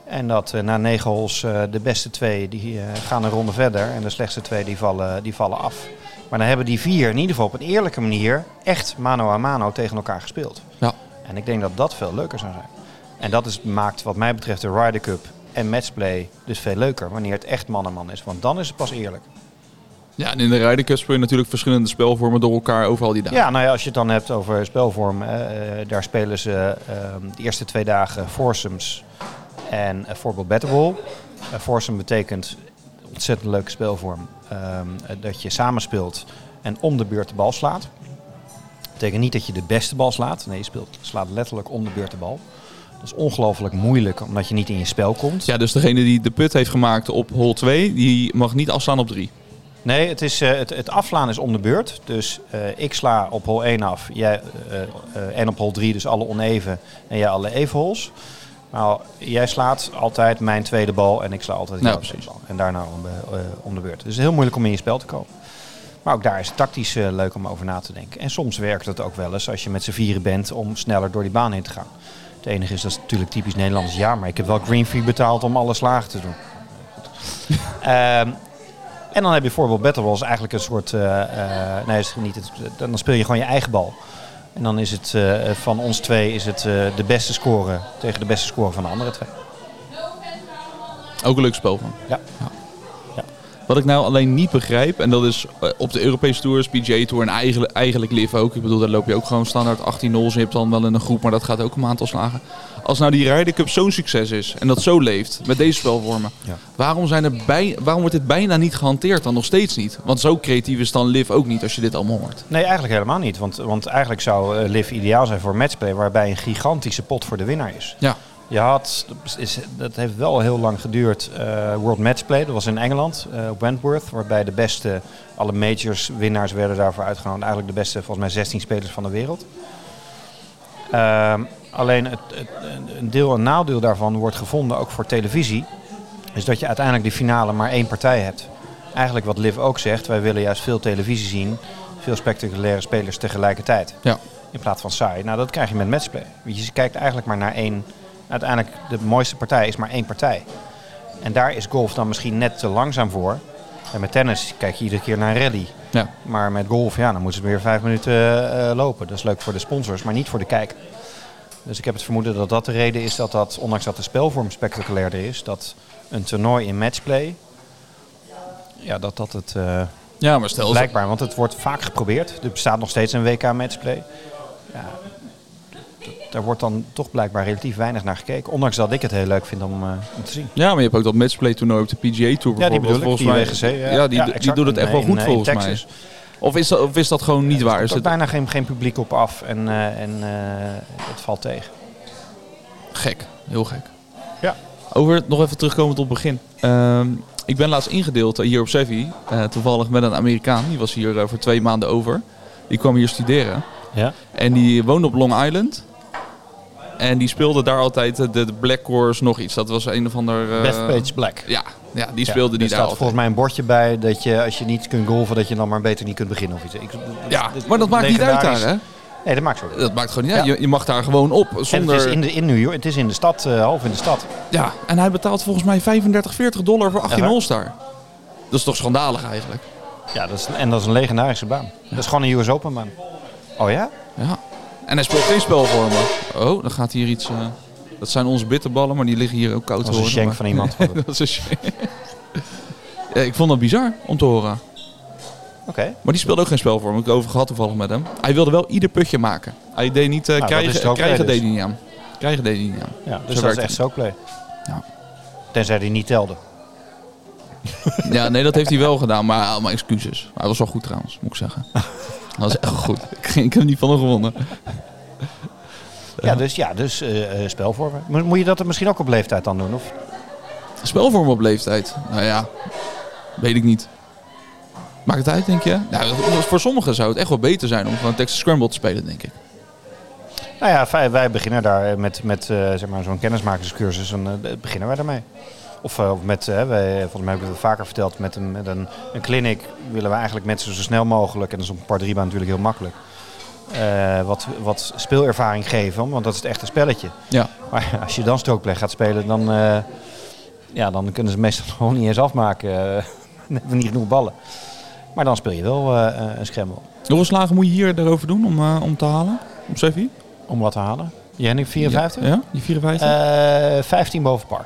Speaker 2: En dat eh, na negen holes eh, de beste twee die eh, gaan een ronde verder en de slechtste twee die vallen, die vallen af. Maar dan hebben die vier in ieder geval op een eerlijke manier echt mano a mano tegen elkaar gespeeld.
Speaker 1: Ja.
Speaker 2: En ik denk dat dat veel leuker zou zijn. En dat is, maakt wat mij betreft de Ryder Cup en matchplay dus veel leuker. Wanneer het echt man en man is. Want dan is het pas eerlijk.
Speaker 1: ja, en in de rijdenkus speel je natuurlijk verschillende spelvormen door elkaar overal die
Speaker 2: Ja,
Speaker 1: dagen.
Speaker 2: nou ja, als je het dan hebt over spelvorm. eh, eh, daar spelen ze ehm, de eerste twee dagen foursomes en eh, voorbeeld battleball. Eh foursome betekent ontzettend leuke speelvorm. ehm, eh, dat je samen speelt en om de beurt de bal slaat. betekent niet dat je de beste bal slaat. Nee, je speelt, slaat letterlijk om de beurt de bal. Dat is ongelooflijk moeilijk omdat je niet in je spel komt.
Speaker 1: Ja, dus degene die de put heeft gemaakt op hole 2, die mag niet afstaan op 3.
Speaker 2: Nee, het, is, eh, het, het afslaan is om de beurt. Dus eh, ik sla op hol 1 af jij, eh, eh, en op hol 3, dus alle oneven en jij alle even holes. Maar jij slaat altijd mijn tweede bal en ik sla altijd jouw
Speaker 1: Ja,
Speaker 2: tweede
Speaker 1: precies.
Speaker 2: bal. En daarna om, de- eh, om de beurt. Dus het is heel moeilijk om in je spel te komen. Maar ook daar is het tactisch eh, leuk om over na te denken. En soms werkt het ook wel eens als je met z'n vieren bent om sneller door die baan heen te gaan. Het enige is, dat is natuurlijk typisch Nederlands. Ja, maar ik heb wel green fee betaald om alle slagen te doen. Ehm, en dan heb je bijvoorbeeld Battle Balls eigenlijk een soort... eh, eh, nee, is niet het, dan speel je gewoon je eigen bal. En dan is het eh, van ons twee is het, eh, de beste score tegen de beste score van de andere twee.
Speaker 1: Ook een leuk spel van.
Speaker 2: Ja. Ja.
Speaker 1: Wat ik nou alleen niet begrijp, en dat is eh, op de Europese tours, PGA Tour en eigenlijk, eigenlijk Liv ook. Ik bedoel, daar loop je ook gewoon standaard 18 0 en je hebt dan wel in een groep, maar dat gaat ook om aantal slagen. Als nou die Ryder Cup zo'n succes is en dat zo leeft met deze spelvormen,
Speaker 2: Ja.
Speaker 1: waarom, zijn er bij, waarom wordt dit bijna niet gehanteerd dan nog steeds niet? Want zo creatief is dan Liv ook niet als je dit allemaal hoort.
Speaker 2: Nee, eigenlijk helemaal niet. Want, want eigenlijk zou eh, Liv ideaal zijn voor matchplay... waarbij een gigantische pot voor de winnaar is.
Speaker 1: Ja,
Speaker 2: Je had, dat is- dat heeft wel heel lang geduurd, eh, World Matchplay. Dat was in Engeland, eh, op Wentworth. Waarbij de beste, alle majors winnaars werden daarvoor uitgenodigd. Eigenlijk de beste, volgens mij 16 spelers van de wereld. Ehm, alleen het, het, een- een deel, een nadeel daarvan wordt gevonden, ook voor televisie. Is dat je uiteindelijk de finale maar één partij hebt. Eigenlijk wat Liv ook zegt, wij willen juist veel televisie zien. Veel spectaculaire spelers tegelijkertijd.
Speaker 1: ja.
Speaker 2: In plaats van saai. Nou, dat krijg je met matchplay. Want je kijkt eigenlijk maar naar één. Uiteindelijk, de mooiste partij is maar één partij. En daar is golf dan misschien net te langzaam voor. En met tennis kijk je iedere keer naar een rally.
Speaker 1: ja.
Speaker 2: Maar met golf, ja, dan moeten ze weer vijf minuten eh, eh, lopen. Dat is leuk voor de sponsors, maar niet voor de kijker. Dus ik heb het vermoeden dat dat de reden is dat dat, ondanks dat de spelvorm spectaculairder is, dat een toernooi in matchplay, ja, dat dat het eh,
Speaker 1: ja maar stel,
Speaker 2: Blijkbaar, want het wordt vaak geprobeerd. Er bestaat nog steeds een WK matchplay. Ja, daar wordt dan toch blijkbaar relatief weinig naar gekeken. Ondanks dat ik het heel leuk vind om, eh, om te zien.
Speaker 1: Ja, maar je hebt ook dat matchplay toernooi op de PGA Tour
Speaker 2: Ja, die
Speaker 1: bijvoorbeeld.
Speaker 2: bedoel ik,
Speaker 1: volgens
Speaker 2: die
Speaker 1: mij.
Speaker 2: WGC, ja.
Speaker 1: ja, die,
Speaker 2: Ja,
Speaker 1: die
Speaker 2: exact.
Speaker 1: doet het echt wel
Speaker 2: In,
Speaker 1: goed
Speaker 2: eh, in
Speaker 1: volgens
Speaker 2: Texas.
Speaker 1: mij. Of is dat, of is dat gewoon niet waar?
Speaker 2: Er
Speaker 1: Is
Speaker 2: komt
Speaker 1: het
Speaker 2: bijna geen, geen publiek op af en, eh, en eh, het valt tegen.
Speaker 1: gek? Heel gek.
Speaker 2: Ja.
Speaker 1: Over, nog even terugkomend op het begin. Ehm, ik ben laatst ingedeeld eh, hier op Sevi. eh, toevallig met een Amerikaan. Die was hier eh, voor twee maanden over. Die kwam hier studeren.
Speaker 2: Ja.
Speaker 1: En die woonde op Long Island. En die speelde daar altijd eh, de, de Black Horse nog iets. Dat was een of ander... eh,
Speaker 2: Bethpage Black.
Speaker 1: Ja, ja, die speelde die daar
Speaker 2: er dus staat
Speaker 1: altijd.
Speaker 2: volgens mij een bordje bij dat je als je niet kunt golven, dat je dan maar beter niet kunt beginnen of iets. Ik,
Speaker 1: Ja, maar dat maakt niet uit daar,
Speaker 2: Dus legendarisch-
Speaker 1: hè?
Speaker 2: Nee, dat maakt zo.
Speaker 1: Dat maakt gewoon niet uit. Je, je mag daar gewoon op.
Speaker 2: En het
Speaker 1: Zonder...
Speaker 2: is in, de, in New York, het is in de stad, eh, half in de stad.
Speaker 1: Ja, en hij betaalt volgens mij 35, 40 dollar voor 18
Speaker 2: Echt waar?
Speaker 1: All-Star. Dat is toch schandalig eigenlijk?
Speaker 2: Ja, dat is, en dat is een legendarische baan. Dat is gewoon een US Open baan. Oh ja?
Speaker 1: Ja. En hij speelt geen spel voor me. Oh, dan gaat hier iets... eh, Dat zijn onze bitterballen, maar die liggen hier ook koud
Speaker 2: Dat
Speaker 1: te
Speaker 2: was een
Speaker 1: horen.
Speaker 2: shank
Speaker 1: maar-
Speaker 2: van iemand. Oké.
Speaker 1: Dat is een shank. Ja, ik vond dat bizar om te horen. Maar die speelde ook geen spel voor me. Ik heb het over gehad toevallig met hem. Hij wilde wel ieder putje maken. Hij deed niet... eh,
Speaker 2: Nou, dat is er
Speaker 1: krijgen
Speaker 2: ook
Speaker 1: krijgen
Speaker 2: bij dus.
Speaker 1: deed hij niet aan. Krijgen deed hij niet aan.
Speaker 2: Ja, dus
Speaker 1: Zo
Speaker 2: dat
Speaker 1: werkt
Speaker 2: is echt
Speaker 1: het.
Speaker 2: soakplay.
Speaker 1: Ja.
Speaker 2: Tenzij die niet telde.
Speaker 1: Ja, nee, dat heeft hij wel gedaan, maar allemaal excuses. Hij was wel goed trouwens, moet ik zeggen. Hij was echt goed. Ik, ging- ik heb niet van hem gewonnen.
Speaker 2: Ja, dus, ja, dus eh, eh, spelvormen. Mo- Moet je dat er misschien ook op leeftijd dan doen? Of?
Speaker 1: Spelvorm op leeftijd. Nou ja, weet ik niet. Maakt het uit, denk je? Nou, voor sommigen zou het echt wel beter zijn om gewoon Texas Scramble te spelen, denk ik.
Speaker 2: Nou ja, wij, wij beginnen daar met, met eh, zeg maar zo'n kennismakerscursus. En eh, beginnen wij daarmee. Of eh, of met, eh, wij, volgens mij hebben we het vaker verteld, met een, met een, een clinic willen we eigenlijk mensen zo snel mogelijk, en dat is op een par 3 baan natuurlijk heel makkelijk, eh, wat, wat speelervaring geven, want dat is het echte spelletje.
Speaker 1: Ja,
Speaker 2: Maar ja, als je dan strookplay gaat spelen, dan, eh, ja, dan kunnen ze meestal gewoon niet eens afmaken. Eh, Dan hebben we niet genoeg ballen. Maar dan speel je wel eh, eh, een scramble.
Speaker 1: hoeveel slagen moet je hier daarover doen om, eh, om te halen? Om Sevi?
Speaker 2: Om wat te halen. Jij Henning, 54?
Speaker 1: Ja, ja, die 54?
Speaker 2: Eh, 15 boven par.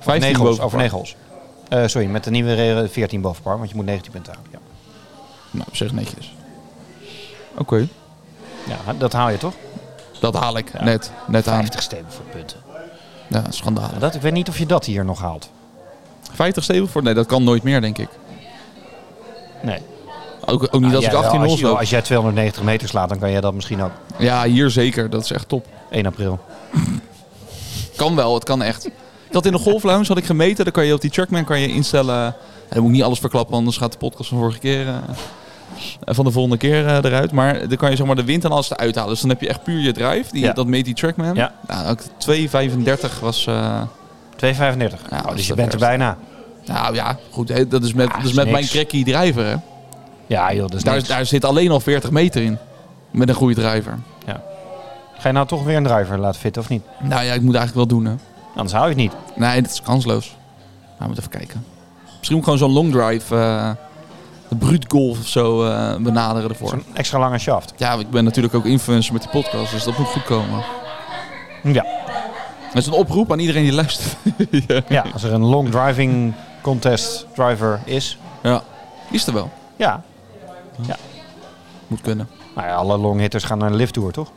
Speaker 1: 15
Speaker 2: Negels,
Speaker 1: boven
Speaker 2: over
Speaker 1: par.
Speaker 2: 9 holes. Eh, sorry, met de nieuwe regel 14 boven par, want je moet 19 punten halen. Ja.
Speaker 1: Nou, op zich netjes. Oké,
Speaker 2: ja, dat haal je toch?
Speaker 1: dat haal ik net, net aan.
Speaker 2: 50 steven voor punten.
Speaker 1: Ja, schandalig.
Speaker 2: Dat, ik weet niet of je dat hier nog haalt.
Speaker 1: 50 stevig voor? Nee, dat kan nooit meer, denk ik.
Speaker 2: Nee. Ah,
Speaker 1: Ook, ook niet als ik 18
Speaker 2: als,
Speaker 1: hols
Speaker 2: je,
Speaker 1: loop.
Speaker 2: als jij 290 meter slaat, dan kan jij dat misschien ook.
Speaker 1: Ja, hier zeker. Dat is echt top.
Speaker 2: 1 april.
Speaker 1: Kan wel, het kan echt. Dat in de golf lounge had ik gemeten. Dan kan je op die trackman kan je instellen. En dan moet ik niet alles verklappen, anders gaat de podcast van vorige keer. eh, eh, van de volgende keer eh, eruit. Maar dan kan je zeg maar de wind en alles eruit halen. Dus dan heb je echt puur je drive. Die,
Speaker 2: Ja.
Speaker 1: Dat meet die trackman.
Speaker 2: Ja.
Speaker 1: Nou, ook 2,35 was. eh,
Speaker 2: 2,35.
Speaker 1: Ja,
Speaker 2: Nou,
Speaker 1: dat
Speaker 2: dus
Speaker 1: is
Speaker 2: je
Speaker 1: de
Speaker 2: bent er
Speaker 1: best.
Speaker 2: bijna.
Speaker 1: nou ja, goed. hè, Dat is met,
Speaker 2: Ah,
Speaker 1: dat is
Speaker 2: is
Speaker 1: met
Speaker 2: niks.
Speaker 1: mijn cracky driver. Hè.
Speaker 2: Ja, joh, dat is
Speaker 1: Daar,
Speaker 2: niks.
Speaker 1: daar zit alleen al 40 meter in. Met een goede driver.
Speaker 2: Ga je nou toch weer een driver laten fitten of niet?
Speaker 1: Nou ja, ik moet eigenlijk wel doen. Hè.
Speaker 2: Anders hou je het niet.
Speaker 1: Nee, dat is kansloos. Maar we moeten even kijken. Misschien moet ik gewoon zo'n long drive, eh, de bruut golf of zo eh, benaderen ervoor.
Speaker 2: Zo'n extra lange shaft.
Speaker 1: Ja, ik ben natuurlijk ook influencer met die podcast, dus dat moet goed komen.
Speaker 2: Ja,
Speaker 1: Dat is een oproep aan iedereen die luistert. ja.
Speaker 2: ja als er een long driving contest driver is.
Speaker 1: ja, is er wel.
Speaker 2: Ja,
Speaker 1: Moet kunnen.
Speaker 2: nou ja, alle long hitters gaan naar een lift tour, toch?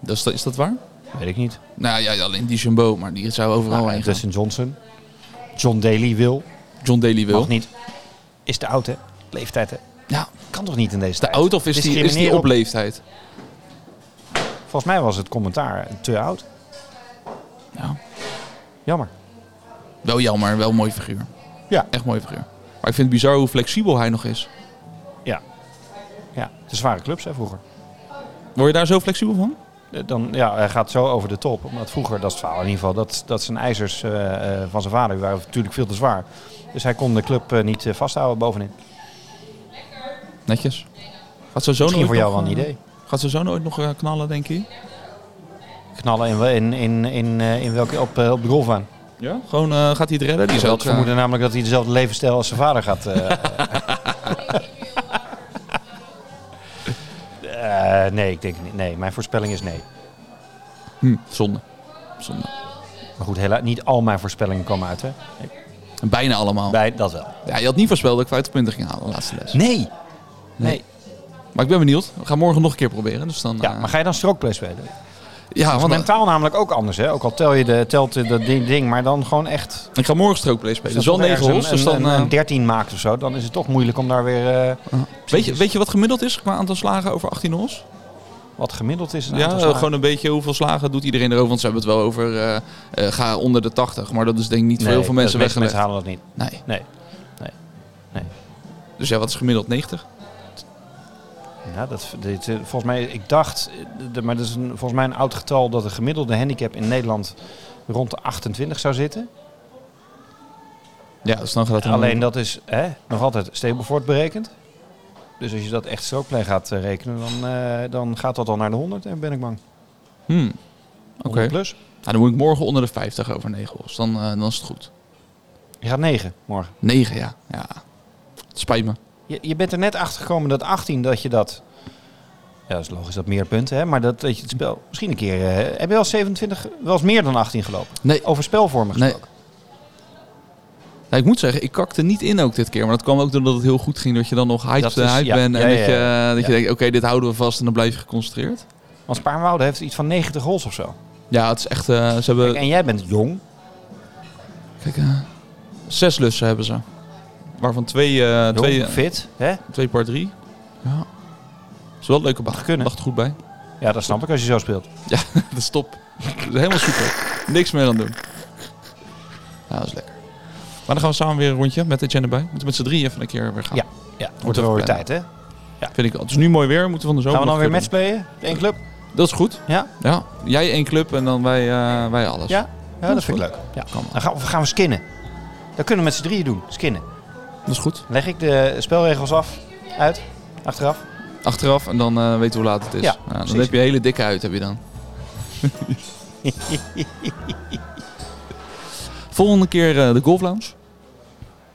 Speaker 1: Dat is, dat- is dat waar?
Speaker 2: Weet ik niet.
Speaker 1: Nou ja, alleen die Jumbo, maar die zou overal
Speaker 2: Nou,
Speaker 1: heen gaan.
Speaker 2: Dustin Johnson. John Daly wil.
Speaker 1: John Daly wil.
Speaker 2: Mag niet. Is te oud, hè? Leeftijd, hè?
Speaker 1: Ja,
Speaker 2: Kan toch niet in deze
Speaker 1: te
Speaker 2: tijd?
Speaker 1: oud of is die, is die
Speaker 2: Discrimineren
Speaker 1: op leeftijd?
Speaker 2: Volgens mij was het commentaar eh, te oud.
Speaker 1: Ja.
Speaker 2: Jammer.
Speaker 1: Wel jammer, wel een mooi figuur.
Speaker 2: Ja.
Speaker 1: Echt mooi figuur. Maar ik vind het bizar hoe flexibel hij nog is.
Speaker 2: Ja. Ja, de zware clubs, hè, vroeger.
Speaker 1: Word je daar zo flexibel van?
Speaker 2: Eh, Dan, ja, hij gaat zo over de top. Omdat vroeger, dat is het verhaal in ieder geval, dat, dat zijn ijzers eh, eh, van zijn vader die waren natuurlijk veel te zwaar. Dus hij kon de club eh, niet eh, vasthouden bovenin.
Speaker 1: Netjes. Gaat zijn zoon
Speaker 2: Misschien
Speaker 1: ooit
Speaker 2: voor jou
Speaker 1: nog,
Speaker 2: wel een
Speaker 1: eh,
Speaker 2: idee.
Speaker 1: Gaat zijn zoon ooit nog eh, knallen, denk je?
Speaker 2: Knallen in, wel- in, in, in, eh, in welke, op, eh, op de golfbaan.
Speaker 1: Ja? Gewoon eh, gaat hij het redden? Die zou
Speaker 2: Ik had
Speaker 1: het
Speaker 2: het vermoeden namelijk dat hij dezelfde levensstijl als zijn vader gaat. eh, eh, nee, ik denk niet. Nee, mijn voorspelling is nee.
Speaker 1: Hm, zonde. Zonde.
Speaker 2: Maar goed, helaas, niet al mijn voorspellingen komen uit, hè?
Speaker 1: Bijna allemaal.
Speaker 2: Bij dat wel.
Speaker 1: Ja, je had niet voorspeld dat ik 50 punten ging halen, de laatste les.
Speaker 2: Nee!
Speaker 1: Maar ik ben benieuwd. We gaan morgen nog een keer proberen. Dus dan,
Speaker 2: Ja,
Speaker 1: eh,
Speaker 2: maar ga je dan strookplay spelen?
Speaker 1: Ja, want
Speaker 2: mentaal namelijk ook anders, hè? Ook al tel je de, telt je dat ding, ding, maar dan gewoon echt...
Speaker 1: ik ga morgen strookplay spelen. Dat is wel
Speaker 2: als er
Speaker 1: 9
Speaker 2: ergens
Speaker 1: holes. Dus
Speaker 2: een, een,
Speaker 1: dan,
Speaker 2: een,
Speaker 1: eh,
Speaker 2: 13 maakt of zo, dan is het toch moeilijk om daar weer... eh,
Speaker 1: weet, je, weet je wat gemiddeld is qua aantal slagen over 18 holes?
Speaker 2: wat gemiddeld is een
Speaker 1: Ja, eh,
Speaker 2: aantal slagen.
Speaker 1: gewoon een beetje hoeveel slagen doet iedereen erover. Want ze hebben het wel over eh, eh, ga onder de 80. Maar dat is denk ik niet voor
Speaker 2: Nee,
Speaker 1: heel veel
Speaker 2: dat-
Speaker 1: mensen
Speaker 2: de meeste
Speaker 1: weggelegd.
Speaker 2: mensen halen dat niet.
Speaker 1: Nee.
Speaker 2: Nee.
Speaker 1: Dus ja, wat is gemiddeld 90?
Speaker 2: Ja, dat, dit, eh, volgens mij, ik dacht, eh, de- maar dat is een, volgens mij een oud getal dat de gemiddelde handicap in Nederland rond de 28 zou zitten.
Speaker 1: Ja, dus dan gaat het
Speaker 2: Alleen dat is hè, nog altijd Stableford berekend. Dus als je dat echt strookplein gaat eh, rekenen, dan, eh, dan gaat dat al naar de 100 en ben ik bang.
Speaker 1: Hmm. Oké.
Speaker 2: 100 plus.
Speaker 1: Nou, dan moet ik morgen onder de 50 over 9 holes. Dan, eh, dan is het goed.
Speaker 2: Je gaat 9 morgen.
Speaker 1: 9, ja. ja. Het spijt me.
Speaker 2: Je, je bent er net achter gekomen dat 18 dat je dat. Ja, dat is logisch dat meer punten, hè? maar dat, dat je het spel misschien een keer. eh, heb je wel 27, wel eens meer dan 18 gelopen?
Speaker 1: Nee.
Speaker 2: Over spelvormen
Speaker 1: Nee.
Speaker 2: gesproken.
Speaker 1: Ja, ik moet zeggen, ik kakte niet in ook dit keer. Maar dat kwam ook doordat het heel goed ging. Dat je dan nog hyped, eh,
Speaker 2: Dat is-
Speaker 1: hyped
Speaker 2: ja.
Speaker 1: bent. En
Speaker 2: Ja, ja,
Speaker 1: dat, je, eh,
Speaker 2: ja.
Speaker 1: dat je
Speaker 2: Ja.
Speaker 1: denkt, oké, dit houden we vast. En dan blijf je geconcentreerd.
Speaker 2: Want Spaarnwoude heeft iets van 90 holes of zo.
Speaker 1: Ja, het is echt... eh, ze hebben...
Speaker 2: Kijk, en jij bent jong.
Speaker 1: Kijk, eh, zes lussen hebben ze. Waarvan twee, eh,
Speaker 2: jong,
Speaker 1: twee,
Speaker 2: fit. Hè?
Speaker 1: twee par drie. Ja. Is wel een leuke baan.
Speaker 2: Mag kunnen.
Speaker 1: Dacht goed bij.
Speaker 2: Ja, dat snap ik als je zo speelt.
Speaker 1: Dat is top. Dat is helemaal super. Niks meer aan doen. Ja, dat is lekker. Maar dan gaan we samen weer een rondje met Etienne erbij. Moeten we met z'n drieën even een keer weer gaan.
Speaker 2: Ja. Ja, wordt
Speaker 1: even
Speaker 2: wel weer
Speaker 1: plannen.
Speaker 2: tijd, hè?
Speaker 1: Vind ik al. Het is nu mooi weer. Moeten we van de zomer
Speaker 2: Gaan we dan
Speaker 1: nog
Speaker 2: weer
Speaker 1: een keer
Speaker 2: matchplayen? Eén club?
Speaker 1: doen. Dat is goed.
Speaker 2: Ja?
Speaker 1: Ja. Jij één club en dan wij, eh, wij alles.
Speaker 2: Ja? Ja, dat
Speaker 1: is
Speaker 2: vind ik
Speaker 1: goed.
Speaker 2: leuk. Ja.
Speaker 1: Kan wel.
Speaker 2: Dan gaan we, gaan we skinnen. Dat kunnen we met z'n drieën doen. Skinnen.
Speaker 1: Dat is goed.
Speaker 2: Dan leg ik de spelregels af. Uit. Achteraf.
Speaker 1: Achteraf en dan eh, weten we hoe laat het is.
Speaker 2: Ja,
Speaker 1: Nou, dan
Speaker 2: precies.
Speaker 1: heb je een hele dikke uit, heb je dan. Volgende keer eh, de Golf Lounge.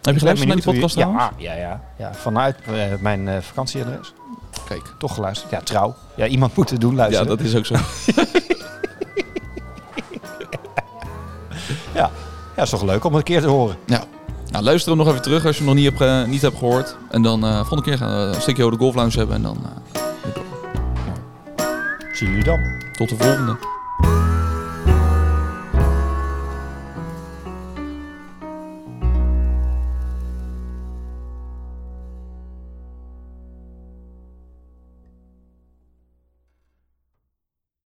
Speaker 1: Heb je geluisterd naar die podcast
Speaker 2: Ja,
Speaker 1: trouwens?
Speaker 2: ah, ja, ja, ja. Vanuit eh, mijn eh, vakantieadres.
Speaker 1: Kijk.
Speaker 2: Toch geluisterd. Ja, trouw. Ja, iemand moet het doen luisteren.
Speaker 1: Ja, dat is ook zo.
Speaker 2: ja, is toch leuk om een keer te horen.
Speaker 1: Ja. Nou, luister hem nog even terug als je hem nog niet hebt, ge- niet hebt gehoord. En dan eh volgende keer gaan we een stukje over de Golf Lounge hebben. En dan eh,
Speaker 2: Zie jullie dan.
Speaker 1: tot de volgende.